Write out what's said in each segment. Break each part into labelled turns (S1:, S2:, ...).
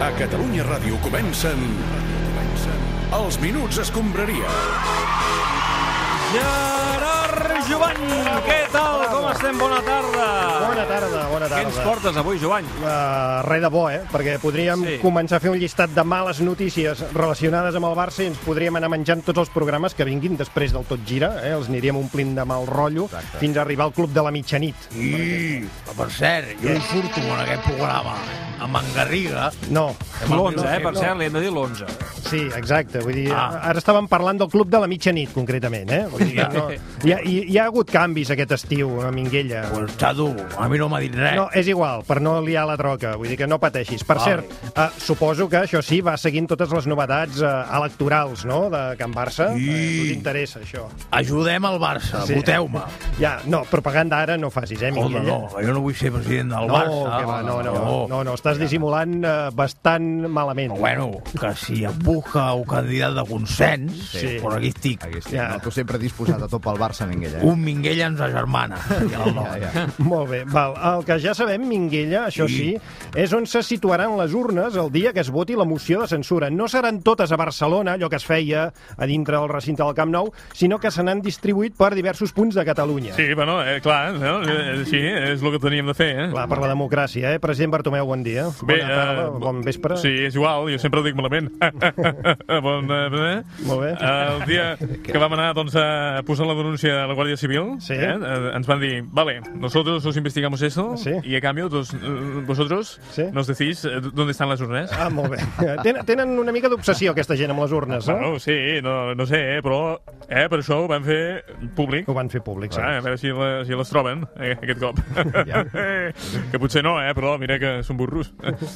S1: A Catalunya Ràdio comencen... comencen els Minuts Escombraria.
S2: Gerard Joan, què tal? Com estem? Bona tarda.
S3: Bona tarda, bona
S2: Què ens
S3: tarda.
S2: portes avui, Joan?
S3: Uh, res de bo, eh? Perquè podríem
S2: Sí.
S3: sí. començar a fer un llistat de males notícies relacionades amb el Barça i ens podríem anar menjant tots els programes que vinguin després del Tot Gira, eh? Els aniríem omplint de mal rotllo Exacte. fins a arribar al Club de la Mitjanit.
S4: I, per cert, jo hi surto en aquest programa amb en Garriga.
S3: No.
S2: L'11,
S3: No,
S2: eh? Per cert, li hem de dir l'11.
S3: Sí, exacte. Vull dir,
S4: Ah.
S3: ah. ara estàvem parlant del Club de la Mitjanit, concretament, eh? Vull dir, que no, hi, ha, hi, hi ha hagut canvis aquest estiu a Minguella.
S4: Pues està dur, a mi no m'ha dit res.
S3: No, és igual, per no liar la troca, vull dir que no pateixis. Per
S4: Vale.
S3: cert, eh, suposo que això sí, va seguint totes les novetats eh, electorals, no?, de Can Barça.
S4: I-
S3: Eh, tu t'interessa, això.
S4: Ajudem al Barça,
S3: Sí.
S4: voteu-me.
S3: Ja, no, propaganda ara no facis, eh,
S4: Joder,
S3: Minguella?
S4: no, jo no vull ser president del
S3: No,
S4: Barça.
S3: que va, no, no, no,
S4: No.
S3: no, no, estàs dissimulant eh, bastant malament.
S4: Però bueno, que si em busca un candidat de consens,
S3: Sí.
S4: sí. per aquí estic.
S5: Aquí estic,
S3: Ja.
S5: ja. no? Tu sempre disposat a tot pel Barça, Minguella. Eh?
S4: Un Minguella ens agermana.
S5: Ja,
S4: Ja,
S5: ja.
S3: Molt bé, val. El que ja sabem, Minguella, això sí, és on se situaran les urnes el dia que es voti la moció de censura. No seran totes a Barcelona, allò que es feia a dintre del recinte del Camp Nou, sinó que se n'han distribuït per diversos punts de Catalunya.
S6: Sí, bueno, eh, clar, no? Eh, sí, és el que teníem de fer, eh?
S3: Clar, per la democràcia, eh? President Bartomeu, bon dia. Bona tarda,
S6: eh,
S3: bon vespre.
S6: Sí, és igual, jo sempre ho dic malament. bon, eh,
S3: Molt bé.
S6: El dia que vam anar doncs, a posar la denúncia a la Guàrdia Civil,
S3: Sí.
S6: eh, eh, ens van dir, vale, nosotros os investigamos eso,
S3: Sí.
S6: y a cambio dos, eh, vosotros
S3: Sí.
S6: nos decís eh, dónde están las urnas.
S3: Ah, molt bé. Tenen, tenen una mica d'obsessió, aquesta gent, amb les urnes, no?
S6: Bueno, sí, no, no sé, eh, però eh, per això ho van fer públic.
S3: Ho van fer eh? públic, sí.
S6: Ah, a veure si, la, si les troben, eh, aquest cop.
S5: Ja.
S6: que potser no, eh, però mira que són burros.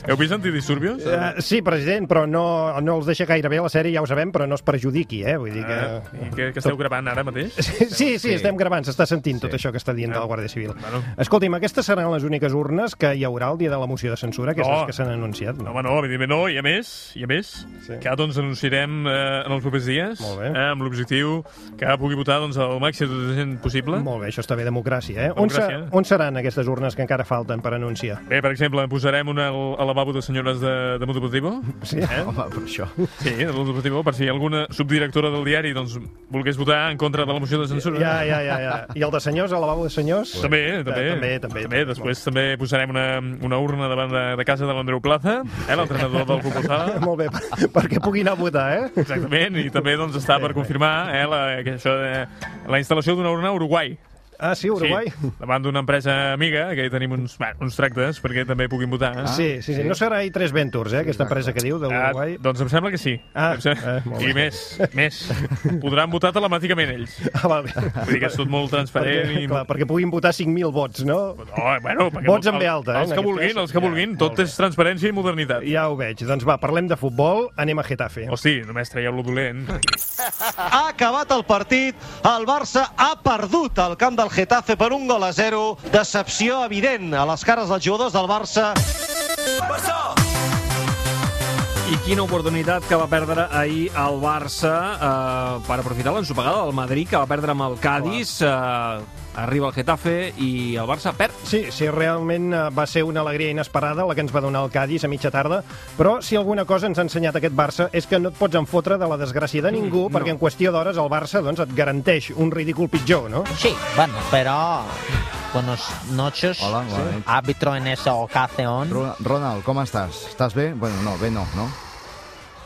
S6: Heu vist antidisturbios?
S3: Uh, sí, president, però no, no els deixa gaire bé la sèrie, ja ho sabem, però no es perjudiqui, eh? Vull dir que...
S6: Ah, I que, que esteu gravant ara mateix?
S3: Sí, sí, sí, Eh, estem gravant, s'està sentint tot
S5: Sí.
S3: això que està dient de la Guàrdia Civil.
S6: Bueno.
S3: Escolti'm, aquestes seran les úniques urnes que hi haurà el dia de la moció de censura, aquestes
S6: No.
S3: que s'han anunciat.
S6: No,
S3: No?
S6: home, no, evidentment no, i a més, i a més,
S3: Sí.
S6: sí. que doncs anunciarem eh, en els propers dies,
S3: Molt bé.
S6: eh, amb l'objectiu que pugui votar doncs, el màxim de gent possible.
S3: Molt bé, això està bé, democràcia, eh? On, se,
S6: Democràcia.
S3: on seran aquestes urnes que encara falten per anunciar?
S6: Bé, per exemple, posarem una al, al lavabo de senyores de, de Mundo Deportivo.
S3: Sí? Eh?
S5: Home, però això...
S6: Sí, de Mundo Deportivo, per si alguna subdirectora del diari doncs, volgués votar en contra de la moció de censura.
S3: Ja, ja, ja, ja. I el de senyors, el lavabo de senyors?
S6: També, eh,
S3: Ta-
S6: també.
S3: també, també,
S6: també.
S3: també.
S6: Després també posarem una, una urna davant de, de casa de l'Andreu Plaza, eh, l'entrenador del Futbol Sala.
S3: Molt bé, per, perquè puguin anar a votar, eh?
S6: Exactament, i també doncs, està per confirmar eh, la, que això de, la instal·lació d'una urna a Uruguai.
S3: Ah, sí, Uruguai?
S6: Sí, davant d'una empresa amiga, que hi tenim uns, bueno, uns tractes perquè també puguin votar. Eh?
S3: Ah, Sí, sí, sí. No serà i3 Ventures, eh, aquesta empresa que diu de
S6: Ah,
S3: l'Uruguai?
S6: doncs em sembla que sí.
S3: Ah,
S6: Em sembla-
S3: eh, molt
S6: I
S3: bé.
S6: més, més. Podran votar telemàticament ells.
S3: Ah, val bé.
S6: Vull dir que és tot molt transparent.
S3: Perquè,
S6: i...
S3: clar, perquè puguin votar 5.000 vots, no?
S6: No, bueno, perquè
S3: Vots
S6: el-
S3: en ve alta, eh,
S6: Els
S3: en
S6: que
S3: aquest
S6: vulguin,
S3: cas.
S6: els que
S3: Ja,
S6: vulguin,
S3: molt
S6: tot
S3: bé.
S6: és transparència i modernitat.
S3: Ja ho veig. Doncs va, parlem de futbol, anem a Getafe.
S6: Hosti, només traieu-lo dolent.
S7: ha acabat el partit, el Barça ha perdut el camp del Getafe per un gol a zero, decepció evident a les cares dels jugadors del Barça.
S2: I quina oportunitat que va perdre ahir el Barça eh, per aprofitar l'ensopegada del Madrid, que va perdre amb el Cádiz. Eh, arriba el Getafe i el Barça perd.
S3: Sí, sí, realment eh, va ser una alegria inesperada la que ens va donar el Cádiz a mitja tarda, però si alguna cosa ens ha ensenyat aquest Barça és que no et pots enfotre de la desgràcia de ningú,
S2: Mm,
S3: perquè en qüestió d'hores el Barça doncs, et garanteix un ridícul pitjor, no?
S8: Sí, bueno, pero buenas noches.
S5: Hola, buena noche.
S8: Árbitro en esa ocasión,
S5: Ro- Ronald, com estàs? Estàs bé? Bueno, no, bé no, no?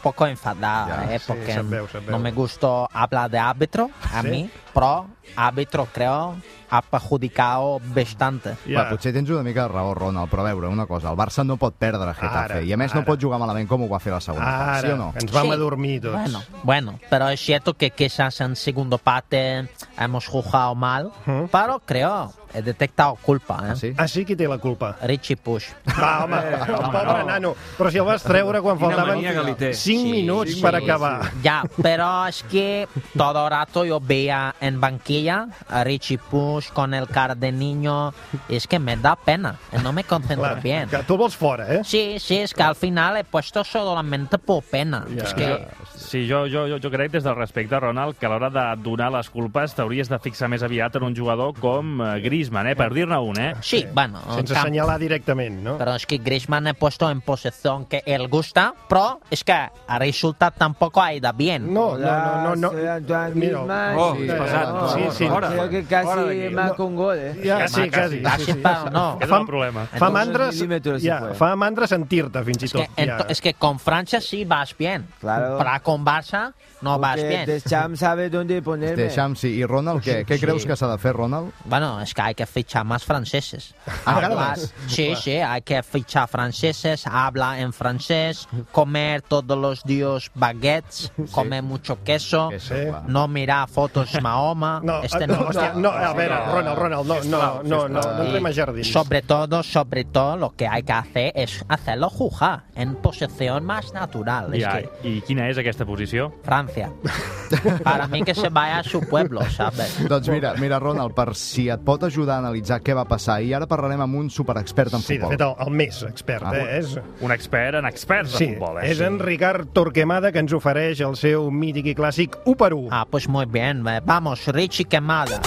S8: poco enfadada,
S5: Ya,
S8: eh,
S3: sí,
S8: porque
S3: se veo, se veo.
S8: no me gustó hablar de árbitro a
S3: Sí.
S8: mí, pero árbitro creo ha perjudicado bastante.
S5: Ja. Va, potser tens una mica de raó, Ronald, però a veure, una cosa, el Barça no pot perdre a Getafe,
S3: Ara,
S5: i a més
S3: ara.
S5: no pot jugar malament com ho va fer la segona. part,
S3: Ara,
S5: sí o no?
S3: ens vam
S8: Sí.
S3: adormir tots.
S8: Bueno, bueno, pero es cierto que quizás en segundo parte hemos jugado mal, pero creo he detectado culpa. ¿eh?
S5: Ah, sí?
S3: Ah, sí, qui té la culpa?
S8: Richie Push.
S3: Va, home, el pobre nano. Però si el vas treure quan
S2: Eh, Quina
S3: faltaven
S2: mania que li té.
S3: 5 minuts
S8: sí,
S3: per
S8: sí.
S3: acabar.
S8: Ya, pero es que todo el rato yo veía en banquilla a Richie Push con el cara de niño. Y es que me da pena, eh, no me concentro
S3: Clar,
S8: bien.
S3: que tu el vols fora, eh?
S8: Sí, sí, es que al final he puesto solamente por pena. Es que,
S9: Sí, jo, jo, jo, jo crec des del respecte, Ronald, que a l'hora de donar les culpes t'hauries de fixar més aviat en un jugador com eh, Griezmann, eh, per dir-ne un, eh?
S8: Sí, bueno,
S3: Sense
S8: cap-
S3: assenyalar directament, no?
S8: Pero es que Griezmann ha puesto en posición que él gusta, pero es que el resultado tampoco ha ido bien.
S3: No, no, no, no. no. Mira,
S2: Oh,
S3: sí,
S2: és pesat.
S3: no, sí, sí.
S2: Fora.
S10: Creo que
S2: Fora
S10: casi
S2: d'aquí.
S10: marca un gol, ¿eh?
S3: Ja, sí, quasi.
S8: Casi, pero no.
S9: Aquest és el problema.
S3: Fa
S10: Dos
S3: mandra,
S10: mil·límetres,
S3: ja,
S10: si fue.
S3: fa mandra sentir-te, fins i
S8: Es que,
S3: tot. Ja.
S8: ento- es que con Francia sí vas bien.
S10: Claro.
S8: Para con Barça no vas
S10: Porque
S8: bien.
S10: Deschamps sabe dónde ponerme.
S5: Deixa'm, sí. I Ronald, què, què
S8: Sí.
S5: creus que s'ha de fer, Ronald?
S8: Bueno, es que hay que fichar más franceses.
S5: Ahora
S8: Hablar-
S5: más.
S8: Sí,
S10: Pues.
S8: sí, hay que fichar franceses, habla en francés, comer todos los días baguettes, comer mucho queso,
S5: Que
S3: Sí.
S5: clar.
S8: no mirar fotos Mahoma.
S3: No,
S8: este
S3: no,
S8: no,
S3: hòstia, no, a veure, Ronald, Ronald, no, no, no, no, no entrem a jardins.
S8: Sobre todo, sobre todo, lo que hay que hacer es hacerlo jugar en posición más natural. Es
S9: I, ah,
S8: que
S9: I quina és aquesta posició?
S8: Francia. Para mí que se vaya a su pueblo, ¿sabes?
S5: Doncs mira, mira, Ronald, per si et pot ajudar a analitzar què va passar, i ara parlarem amb un superexpert en
S3: Sí, de
S5: futbol.
S3: fet, el, el més expert,
S5: Ah,
S3: eh? És,
S9: Un expert en experts
S3: sí,
S9: de futbol, eh?
S3: és en Ricard Torquemada que ens ofereix el seu mític i clàssic 1 per 1.
S8: Ah, pues muy bien. eh. Vamos, Richie Quemada.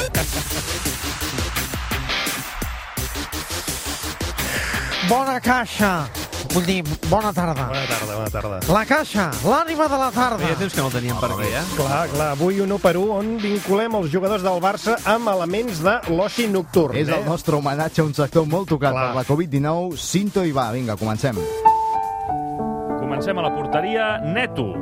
S11: Bona caixa. Vull dir, bona tarda.
S3: Bona tarda, bona tarda.
S11: La caixa, l'ànima de la tarda.
S2: Feia temps que no el teníem per aquí, eh?
S3: Clar, clar, avui un 1 per 1 on vinculem els jugadors del Barça amb elements de l'oci nocturn. eh?
S5: És el nostre homenatge a un sector molt tocat
S3: Clar.
S5: per la Covid-19. Cinto i va, vinga, comencem.
S9: Comencem a la porteria. Neto.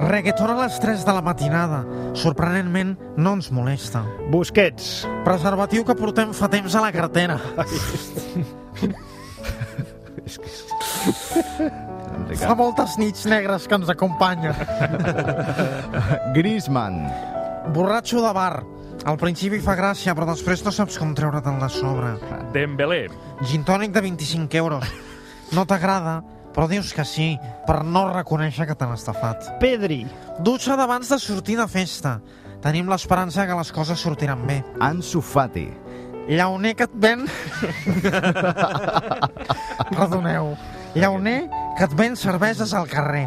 S11: Reggaeton a les 3 de la matinada. Sorprenentment, no ens molesta.
S3: Eh? Busquets.
S11: Preservatiu que portem fa temps a la cartera. Fa moltes nits negres que ens acompanyen.
S5: Griezmann,
S11: Borratxo de bar. Al principi fa gràcia, però després no saps com treure't-en de sobre.
S9: Dembélé.
S11: Gin tònic de 25 euros. No t'agrada, però dius que sí, per no reconèixer que t'han estafat.
S3: Pedri.
S11: Dutxa d'abans de sortir de festa. Tenim l'esperança que les coses sortiran bé.
S5: Ansu Fati,
S11: Llauner que et ven... Perdoneu. Llauner que et ven cerveses al carrer.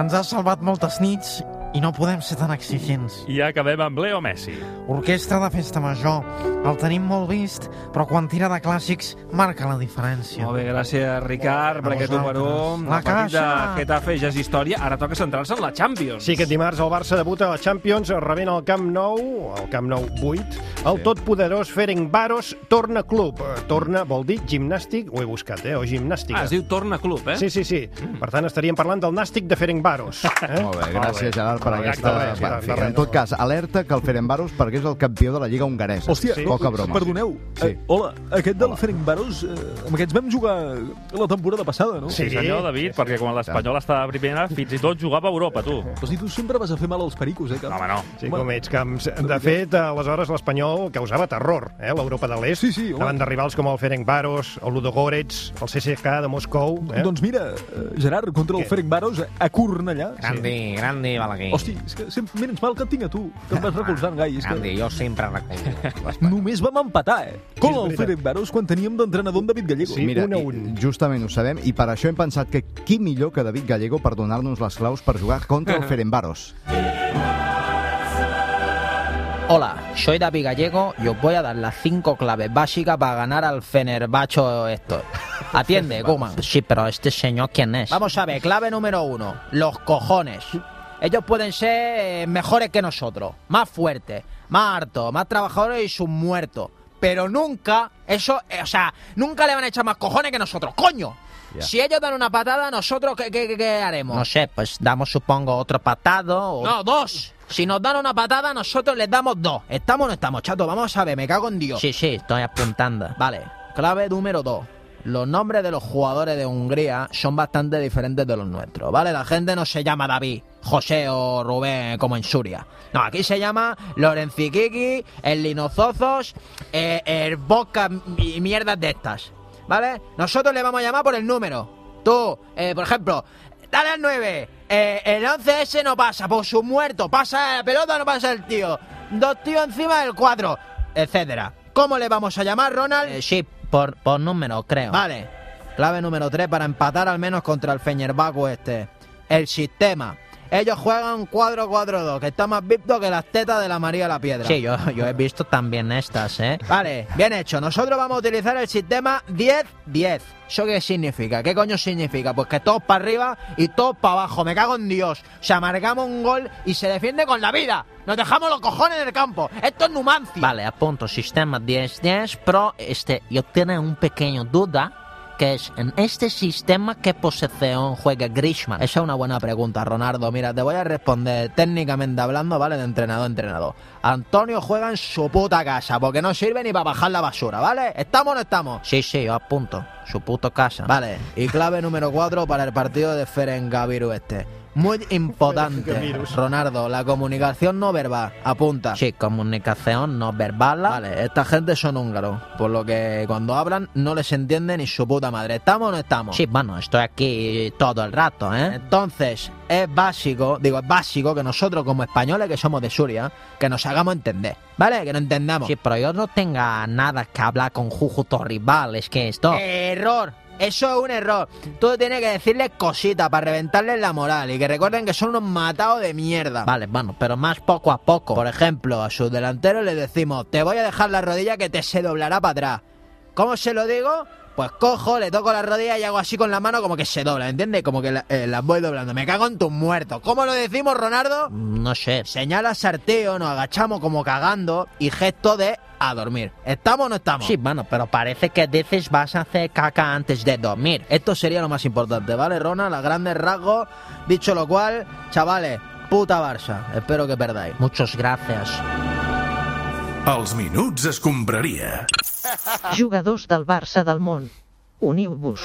S11: Ens ha salvat moltes nits i no podem ser tan exigents.
S9: I acabem amb Leo Messi.
S11: Orquestra de festa major. El tenim molt vist, però quan tira de clàssics marca la diferència.
S2: Molt bé, gràcies, Ricard, per
S11: A
S2: aquest operó.
S11: vosaltres.
S2: La
S11: La
S2: partit de
S11: caixa.
S2: Getafe ja és història. Ara toca centrar-se en la Champions.
S3: Sí, que dimarts el Barça debuta a la Champions, rebent el Camp Nou, el Camp Nou 8. El totpoderós Ferencvaros torna club. Eh, Torna vol dir gimnàstic, ho he buscat, eh? O gimnàstica.
S2: Ah, es diu Torna Club, eh?
S3: Sí, sí, sí. Per tant, estaríem parlant del nàstic de Ferencvaros. Eh?
S5: Molt bé, gràcies, Gerard, per
S3: Correcte,
S5: aquesta...
S3: res,
S5: Va,
S3: res,
S5: fi,
S3: res.
S5: en tot cas, alerta que el Ferencvaros perquè és el campió de la Lliga Hongaresa.
S12: Hòstia,
S3: Sí.
S12: sí.
S5: Poca broma.
S12: perdoneu.
S5: Sí.
S12: Eh, hola, aquest del Ferencvaros, eh, amb aquests vam jugar la temporada passada, no?
S9: Sí, senyor David, perquè quan l'Espanyol estava a primera, fins i tot jugava a Europa, tu.
S12: Però si tu sempre vas a fer mal als pericos, eh?
S9: No,
S12: Cap?
S9: home, no.
S3: Sí, com ets, Camps. De fet, aleshores l'Espanyol causava terror, eh? L'Europa de l'Est,
S12: Sí, sí, home.
S3: davant de rivals com el Ferencvaros, el Ludogorets, el CSK de Moscou... Eh?
S12: Doncs mira, eh, Gerard, contra el
S3: Què? Ah,
S12: Ferencvaros a- a Cornellà.
S8: Grandi, grandi, Balaguer.
S12: Hosti, és que sempre, mira, ens mal que et tinc a tu, que em vas recolzant, Gai. És que
S8: Grandi, jo sempre recolzo.
S12: només vam empatar, eh? Col al
S3: veritat.
S12: Ferencvaros quan teníem d'entrenador en David Gallego.
S3: Sí.
S5: Mira,
S3: un a
S5: i-
S3: un.
S5: justament ho sabem, i per això hem pensat que qui millor que David Gallego per donar-nos les claus per jugar contra el Ferencvaros.
S8: Hola, soy David Gallego y os voy a dar las cinco claves básicas para ganar al Fenerbacho esto. Atiende, Goma. Sí, pero este señor quién es. Vamos a ver, clave número uno, los cojones. Ellos pueden ser eh, mejores que nosotros, más fuertes, más hartos, más trabajadores y sus muertos. Pero nunca, eso, eh, o sea, nunca le van a echar más cojones que nosotros, coño. Si ellos dan una patada, ¿nosotros qué, qué- qué- qué haremos? No sé, pues damos, supongo, otro patado o... No, dos. Si nos dan una patada, nosotros les damos dos. ¿Estamos o no estamos, chato? Vamos a ver, me cago en Dios. Sí, sí, estoy apuntando. Vale, clave número dos. Los nombres de los jugadores de Hungría son bastante diferentes de los nuestros, ¿vale? La gente no se llama David, José o Rubén como en Suria. No, aquí se llama Lorenciquiqui, el Linozozos, eh, el Boca y mierdas de estas, ¿vale? Nosotros le vamos a llamar por el número. Tú, eh, por ejemplo, dale al 9. Eh, el 11 ese no pasa, por su muerto. Pasa la pelota, no pasa el tío. Dos tíos encima del cuadro, etcétera. ¿Cómo le vamos a llamar, Ronald? Eh, sí, por, por número, creo. Vale. Clave número 3 para empatar al menos contra el Feñerbaco este. El sistema. Ellos juegan 4-4-2, que está más visto que las tetas de la María la Piedra. Sí, yo, yo he visto también estas, ¿eh? Vale, bien hecho. Nosotros vamos a utilizar el sistema 10-10. ¿Eso qué significa? ¿Qué coño significa? Pues que todos para arriba y todos para abajo. Me cago en Dios. Se amargamos un gol y se defiende con la vida. Nos dejamos los cojones en el campo. Esto es Numancia. Vale, apunto sistema 10-10, pero este, yo tengo un pequeño duda que es en este sistema qué posesión juega Grishman? Esa es una buena pregunta, Ronaldo. Mira, te voy a responder técnicamente hablando, ¿vale? De entrenador a entrenador. Antonio juega en su puta casa porque no sirve ni para bajar la basura, ¿vale? ¿Estamos o no estamos? Sí, sí, yo apunto. Su puto casa. Vale, y clave número 4 para el partido de Ferengaviru este. Muy importante, Ronaldo, la comunicación no verbal. Apunta. Sí, comunicación no verbal. Vale, esta gente son húngaros, por lo que cuando hablan no les entiende ni su puta madre. ¿Estamos o no estamos? Sí, bueno, estoy aquí todo el rato, ¿eh? Entonces, es básico, digo, es básico que nosotros como españoles que somos de Suria, que nos hagamos entender, ¿vale? Que no entendamos. Sí, pero yo no tenga nada que hablar con Jujuto rival, es que esto... ¡Error! Eso es un error. Tú tienes que decirles cositas para reventarles la moral y que recuerden que son unos matados de mierda. Vale, bueno, pero más poco a poco. Por ejemplo, a sus delanteros les decimos, te voy a dejar la rodilla que te se doblará para atrás. ¿Cómo se lo digo? Pues cojo, le toco la rodilla y hago así con la mano como que se dobla, ¿entiendes? Como que la- eh, las voy doblando. Me cago en tus muertos. ¿Cómo lo decimos, Ronaldo? No sé. Señala sarteo, nos agachamos como cagando y gesto de a dormir. ¿Estamos o no estamos? Sí, bueno, pero parece que dices vas a hacer caca antes de dormir. Esto sería lo más importante, ¿vale, Ronald? A grandes rasgos. Dicho lo cual, chavales, puta Barça. Espero que perdáis. Muchas gracias.
S1: Els minuts escombraria.
S13: Jugadors del Barça del món, uniu-vos.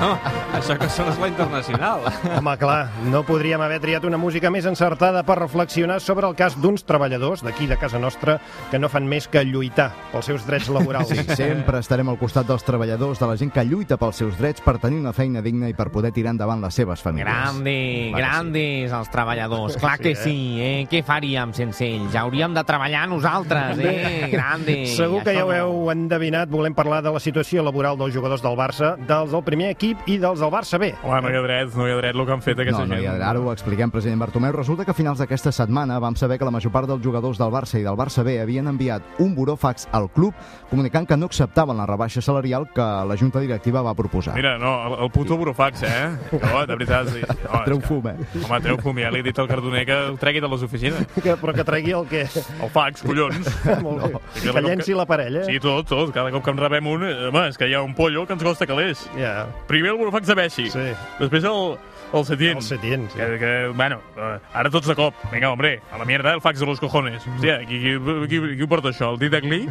S2: No, això que són la internacional.
S3: Home, clar, no podríem haver triat una música més encertada per reflexionar sobre el cas d'uns treballadors d'aquí de casa nostra que no fan més que lluitar pels seus drets laborals.
S5: Sí, sempre estarem al costat dels treballadors, de la gent que lluita pels seus drets per tenir una feina digna i per poder tirar endavant les seves famílies.
S14: Grandi,
S5: Vale,
S14: grandis els treballadors, clar que
S5: Sí, eh?
S14: sí, eh? Què faríem sense ells? Hauríem de treballar nosaltres, eh? Grandis.
S3: Segur que ja
S14: Això
S3: ho heu endevinat, volem parlar de la situació laboral dels jugadors del Barça, dels del primer equip i dels del Barça B.
S6: Home, no hi ha dret, no hi ha dret el que han fet aquesta
S5: No, no,
S6: gent.
S5: i ara ho expliquem, president Bartomeu. Resulta que a finals d'aquesta setmana vam saber que la major part dels jugadors del Barça i del Barça B havien enviat un buró fax al club comunicant que no acceptaven la rebaixa salarial que la junta directiva va proposar.
S6: Mira, no, el, el puto burofax, eh? No, de veritat. Sí. No,
S5: Treu
S6: és
S5: fum, eh?
S6: que, home, treu fum, ja li he dit al cardoner que el tregui de les oficines.
S3: Que, però que tregui el que...
S6: El fax, collons.
S3: Molt bé.
S6: Sí, cada
S3: Que
S6: cop
S3: llenci la parella. eh?
S6: Sí, tot, tot. Cada cop que en rebem un, eh, home, és que hi ha un pollo que ens costa calés.
S3: Yeah.
S6: Primer el burofax de Bessi. Sí. Després el, el Setién. El
S3: Setién,
S6: sí. Que, que, bueno, eh, ara tots de cop. Vinga, hombre, a la mierda el fax de los cojones. Hòstia, qui, qui, qui, qui ho porta això? El Didac Lee?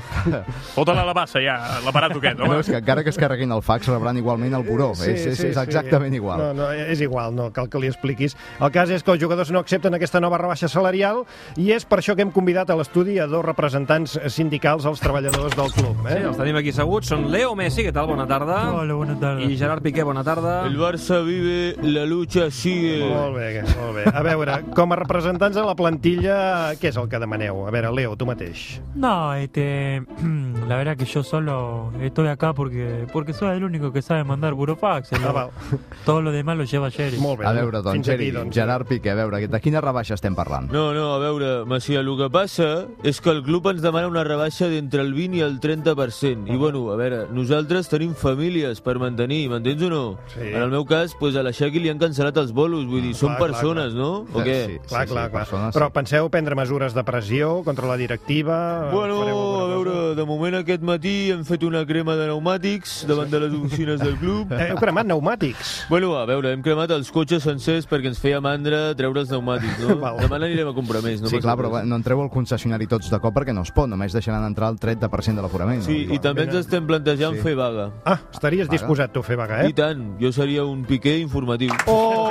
S6: Fota-la a la bassa, ja, a l'aparato aquest, home.
S5: No, és que encara que es carreguin el fax rebran igualment el buró. és, és, és exactament igual.
S3: No, no, és igual, no cal que li expliquis. El cas és que els jugadors no accepten aquesta nova rebaixa salarial i és per això que hem convidat a l'estudi a dos representants sindicals als treballadors del club.
S2: Sí,
S3: Eh?
S2: els tenim aquí seguts. Són Leo Messi, què tal? Bona tarda. Hola, bona tarda. I Gerard Piqué, bona tarda.
S15: El Barça vive, la lucha sigue.
S3: Molt bé, molt bé. A veure, com a representants de la plantilla, què és el que demaneu? A veure, Leo, tu mateix.
S16: No, este, la verdad que yo solo estoy acá porque porque soy el único que sabe mandar burofax.
S3: Ah, va.
S16: Todo lo demás lo lleva Jerry.
S5: A veure, doncs, Geri, Gerard Piqué, a veure, de quina rebaixa estem parlant?
S15: No, no, a veure, Macià, el que passa és que el club ens demana una rebaixa d'entre el 20 i el 30%. I, bueno, a veure, nosaltres tenim famílies per mantenir, m'entens o no?
S3: Sí.
S15: En el meu cas, pues, a la Shaki li han cancel·lat els bolos, vull dir, són
S3: Clar, clar,
S15: persones, no? O què?
S5: Sí,
S3: clar, clar, clar. Però penseu prendre mesures de pressió contra la directiva?
S15: Bueno,
S3: Fareu alguna
S15: a veure, de moment aquest matí hem fet una crema de pneumàtics davant de les oficines del club.
S3: Heu cremat pneumàtics?
S15: Bueno, a veure, hem cremat els cotxes sencers perquè ens feia mandra treure els pneumàtics, no? Demà n'anirem a comprar més. No
S5: sí,
S15: passa
S5: clar,
S15: res.
S5: però no entreu al concessionari tots de cop perquè no es pot, només deixaran entrar el 30% de l'aforament.
S15: Sí, i també ens estem plantejant
S5: Sí.
S15: fer vaga.
S3: Ah, estaries disposat tu a fer vaga, eh?
S15: I tant, jo seria un piquer informatiu.
S3: Oh!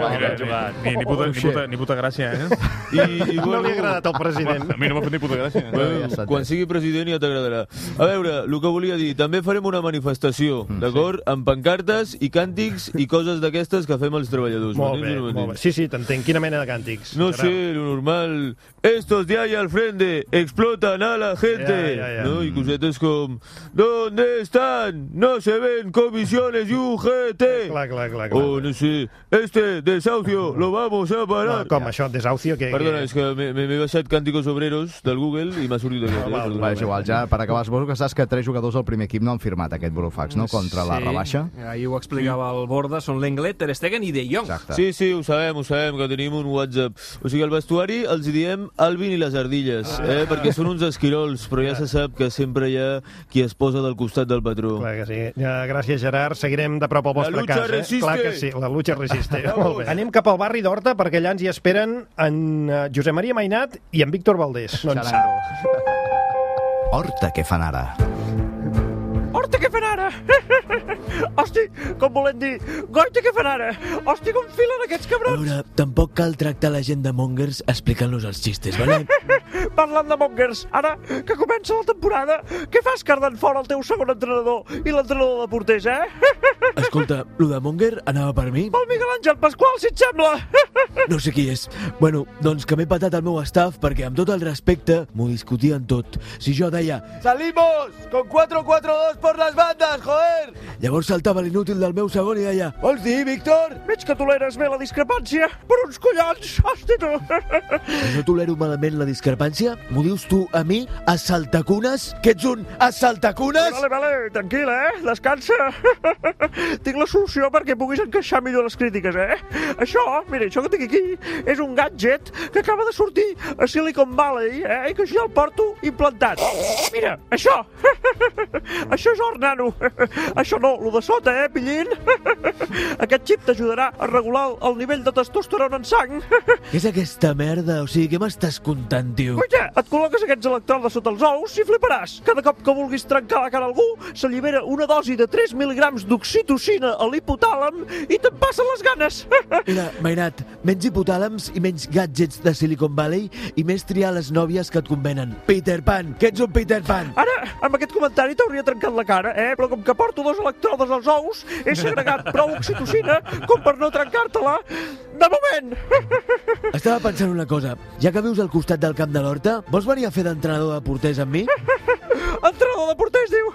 S6: Mira,
S15: mal
S6: mira, Ni, ni, puta, ni, puta, ni puta gràcia, eh? I,
S15: bueno,
S6: A mi no m'ha fet ni puta gràcia.
S15: Bueno, quan sigui president ja t'agradarà. A veure, el que volia dir, també farem una manifestació, d'acord? Amb pancartes i càntics i coses d'aquestes que fem els treballadors.
S3: Molt
S15: matins
S3: bé,
S15: i matins.
S3: molt bé. Sí, sí, t'entenc. Quina mena de càntics?
S15: No
S3: Gerard?
S15: sé, lo normal. Estos de ahí al frente explotan a la gente.
S3: Ya, ya, ya.
S15: ¿No? Y cosetes con... ¿Dónde están? No se ven comisiones y UGT. Oh, no sé. Este desahucio lo vamos a parar.
S3: Com això, desahucio, que...
S15: Perdona, és que m'he m'he baixat Cánticos Obreros del Google i m'ha sortit aquest. eh? Perdona.
S5: Va, és igual, ja per acabar, suposo que saps que tres jugadors del primer equip no han firmat aquest burofax, no? Contra la
S2: Sí,
S5: rebaixa.
S2: Ahir ho explicava el Borda, són Lenglet, Ter Stegen i De Jong.
S15: Sí, sí, ho sabem, ho sabem, que tenim un WhatsApp. O sigui, al vestuari els hi diem Alvin i les ardilles,
S2: Ah.
S15: eh? perquè són uns esquirols, però ja se sap que sempre hi ha qui es posa del costat del patró.
S3: Clar que sí. Ja, Eh, gràcies, Gerard. Seguirem de prop el vostre
S15: lucha
S3: cas. Eh?
S15: resiste.
S3: Clar que sí, la lucha resiste. Molt bé. Anem cap al barri d'Horta perquè allà ens hi esperen en eh, Josep Maria Mainat i en Víctor Valdés. No en sap.
S5: Horta, què fan ara?
S17: Hosti, què fan ara? Hosti, com volen dir, goita, què fan ara? Hosti, com filen aquests
S18: A
S17: cabrons?
S18: veure, Eh, tampoc cal tractar la gent de mongers explicant-los els xistes, vale?
S17: Parlant de mongers, ara que comença la temporada, què fas cardant fora el teu segon entrenador i l'entrenador de porters, eh?
S18: Escolta, lo de monger anava per mi?
S17: El Miguel Àngel Pasqual, si et sembla!
S18: No sé qui és. Bueno, doncs que m'he patat el meu staff perquè amb tot el respecte m'ho discutien tot. Si jo deia
S19: ¡Salimos! ¡Con 4-4-2 por las bandas, joder!
S18: Llavors saltava l'inútil del meu segon i deia Vols dir, Víctor?
S17: Veig que toleres bé la discrepància, per uns collons, hosti, tu!
S18: Que no tolero malament la discrepància? M'ho dius tu a mi? Assaltacunes? Que ets un assaltacunes?
S17: Vale, vale, tranquil, eh? Descansa. tinc la solució perquè puguis encaixar millor les crítiques, eh? Això, mira, això que tinc aquí és un gadget que acaba de sortir a Silicon Valley, eh? I que jo ja el porto implantat. Mira, això. això és or, nano. això no, lo de sota, eh, pillín? Aquest xip t'ajudarà a regular el nivell de testosterona en sang.
S18: Què és aquesta merda? O sigui, què m'estàs contant, tio?
S17: Cuita, et col·loques aquests electrodes sota els ous i fliparàs. Cada cop que vulguis trencar la cara a algú, s'allibera una dosi de 3 mil·ligrams d'oxitocina a l'hipotàlam i te'n passen les ganes.
S18: Mira, Mainat, menys hipotàlams i menys gadgets de Silicon Valley i més triar les nòvies que et convenen. Peter Pan, que ets un Peter Pan!
S17: Ara, amb aquest comentari t'hauria trencat la cara, eh? Però com que porto dos electrodes als ous, he segregat prou oxitocina com per no trencar-te-la. De moment!
S18: Estava pensant una cosa. Ja que vius al costat del camp de l'Horta, vols venir a fer d'entrenador de porters amb mi?
S17: Entrenador de porters, diu.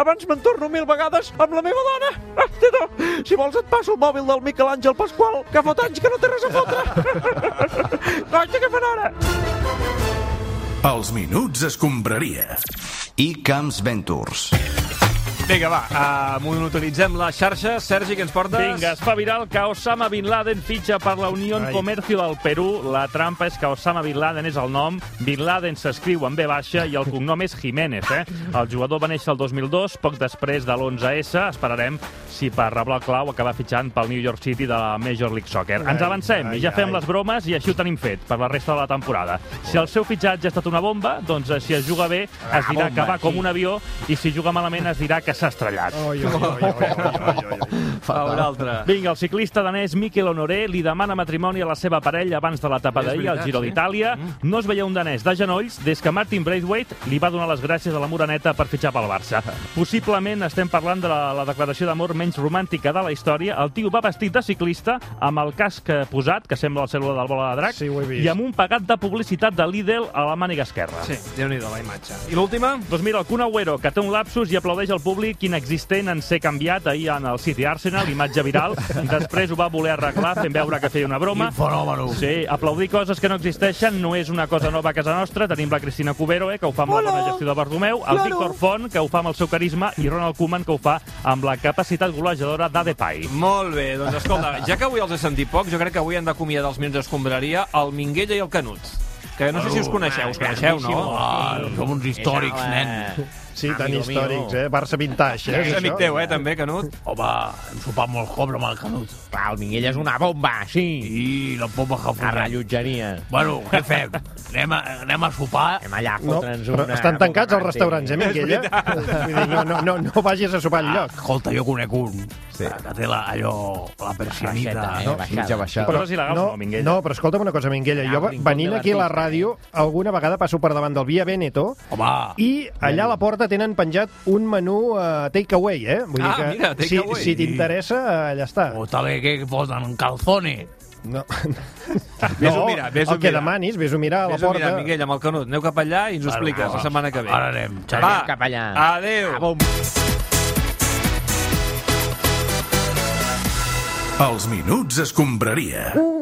S17: Abans me'n torno mil vegades amb la meva dona. Tito, si vols et passo el mòbil del Miquel Àngel Pasqual, que fot anys que no té res a fotre. Coita, què fan ara?
S1: Els minuts escombraria.
S5: I Camps Ventures.
S2: Vinga, va, uh, monotonitzem la xarxa. Sergi, que ens portes?
S9: Vinga, espaviral que Osama Bin Laden fitxa per la Unió en
S2: Ai.
S9: Comercio del Perú. La trampa és que Osama Bin Laden és el nom, Bin Laden s'escriu amb B baixa i el cognom és Jiménez. Eh? El jugador va néixer el 2002, poc després de l'11S. Esperarem si per reblar el clau acabar fitxant pel New York City de la Major League Soccer. Ens
S2: Ai,
S9: avancem
S2: ai,
S9: i ja fem
S2: ai.
S9: les bromes i així ho tenim fet per la resta de la temporada. Si el seu fitxatge ha estat una bomba, doncs eh, si es juga bé
S2: Ah,
S9: es dirà que va com un avió i si juga malament es dirà que s'ha estrellat.
S3: Oi, oi, oi, oi,
S2: Fatal. Un altre.
S9: Vinga, el ciclista danès Miquel Honoré li demana matrimoni a la seva parella abans de la tapa
S2: És
S9: d'ahir al
S2: veritat,
S9: Giro
S2: sí. Mm.
S9: d'Itàlia. No es veia un danès de genolls des que Martin Braithwaite li va donar les gràcies a la Moraneta per fitxar pel Barça. Possiblement estem parlant de la, la declaració d'amor menys romàntica de la història. El tio va vestit de ciclista amb el casc eh, posat, que sembla el cèl·lula del bola de drac, sí,
S2: vist.
S9: i amb un pegat de publicitat de Lidl a la màniga esquerra.
S2: Sí, Déu-n'hi-do la imatge.
S9: I l'última? Doncs mira, el Kun Agüero, que té un lapsus i aplaudeix al públic inexistent en ser canviat ahir en el City Arsenal, imatge viral. Després ho va voler arreglar fent veure que feia una broma.
S4: Quin fenòmeno.
S9: Sí, aplaudir coses que no existeixen no és una cosa nova a casa nostra. Tenim la Cristina Cubero, eh, que ho fa amb la bona gestió de Bartomeu, el
S2: Claro.
S9: Víctor Font, que ho fa amb el seu carisma, i Ronald Koeman, que ho fa amb la capacitat golejadora d'Adepay.
S2: Molt bé, doncs escolta, ja que avui els he sentit poc, jo crec que avui han d'acomiadar els minuts d'escombraria el Minguella i el Canut. Que no
S3: Uh,
S2: sé si us coneixeu,
S3: eh,
S2: us coneixeu, no?
S4: Ah, som uns històrics, nen.
S3: Sí, tan històrics, eh? Barça vintage, eh?
S2: És amic teu, eh, també, Canut?
S4: Home, hem sopat molt cobre amb el Canut.
S14: Clar, el Minguella és una bomba, sí.
S4: I la bomba que
S14: fotrà. La rellotgeria.
S4: Bueno, què fem? Anem a, anem a sopar?
S14: Anem allà a
S3: No,
S14: fotre'ns
S3: però
S14: una...
S3: estan tancats els eh,
S14: Martí.
S3: restaurants, eh, Miquel? Eh? Vull dir, No, no, no, no vagis a sopar enlloc.
S4: Escolta, jo conec un. eh,
S3: Sí.
S5: Sí.
S4: que té la, allò, la persianita.
S5: Baixeta, eh, No, baixada. mitja baixada.
S4: Però,
S5: Però si l'agafo, no, Minguella?
S3: No, però escolta'm una cosa, Minguella. Jo
S5: Rincón
S3: venint
S5: de
S3: aquí a la
S5: l'artista,
S3: ràdio, alguna vegada passo per davant del Via Veneto
S4: Home.
S3: i allà a la porta tenen penjat un menú eh, takeaway, eh? Vull
S4: Ah,
S3: dir que
S4: mira,
S3: si,
S4: takeaway.
S3: si t'interessa, eh, allà està.
S4: o tal vez que posen un calzone.
S3: No.
S2: Ves-ho mirar, ves-ho
S3: el que
S2: mirar.
S3: demanis, vés-ho mirar a la
S2: Vés-ho
S3: porta.
S2: mirar, Miquel, amb el Canut. Aneu cap allà i ens ho
S3: Ara,
S2: expliques
S3: ara,
S2: la setmana que ve.
S3: ara anem,
S2: Va,
S3: Xavi. Anem
S14: cap allà.
S3: Ah,
S2: Adéu.
S1: Els minuts escombraria.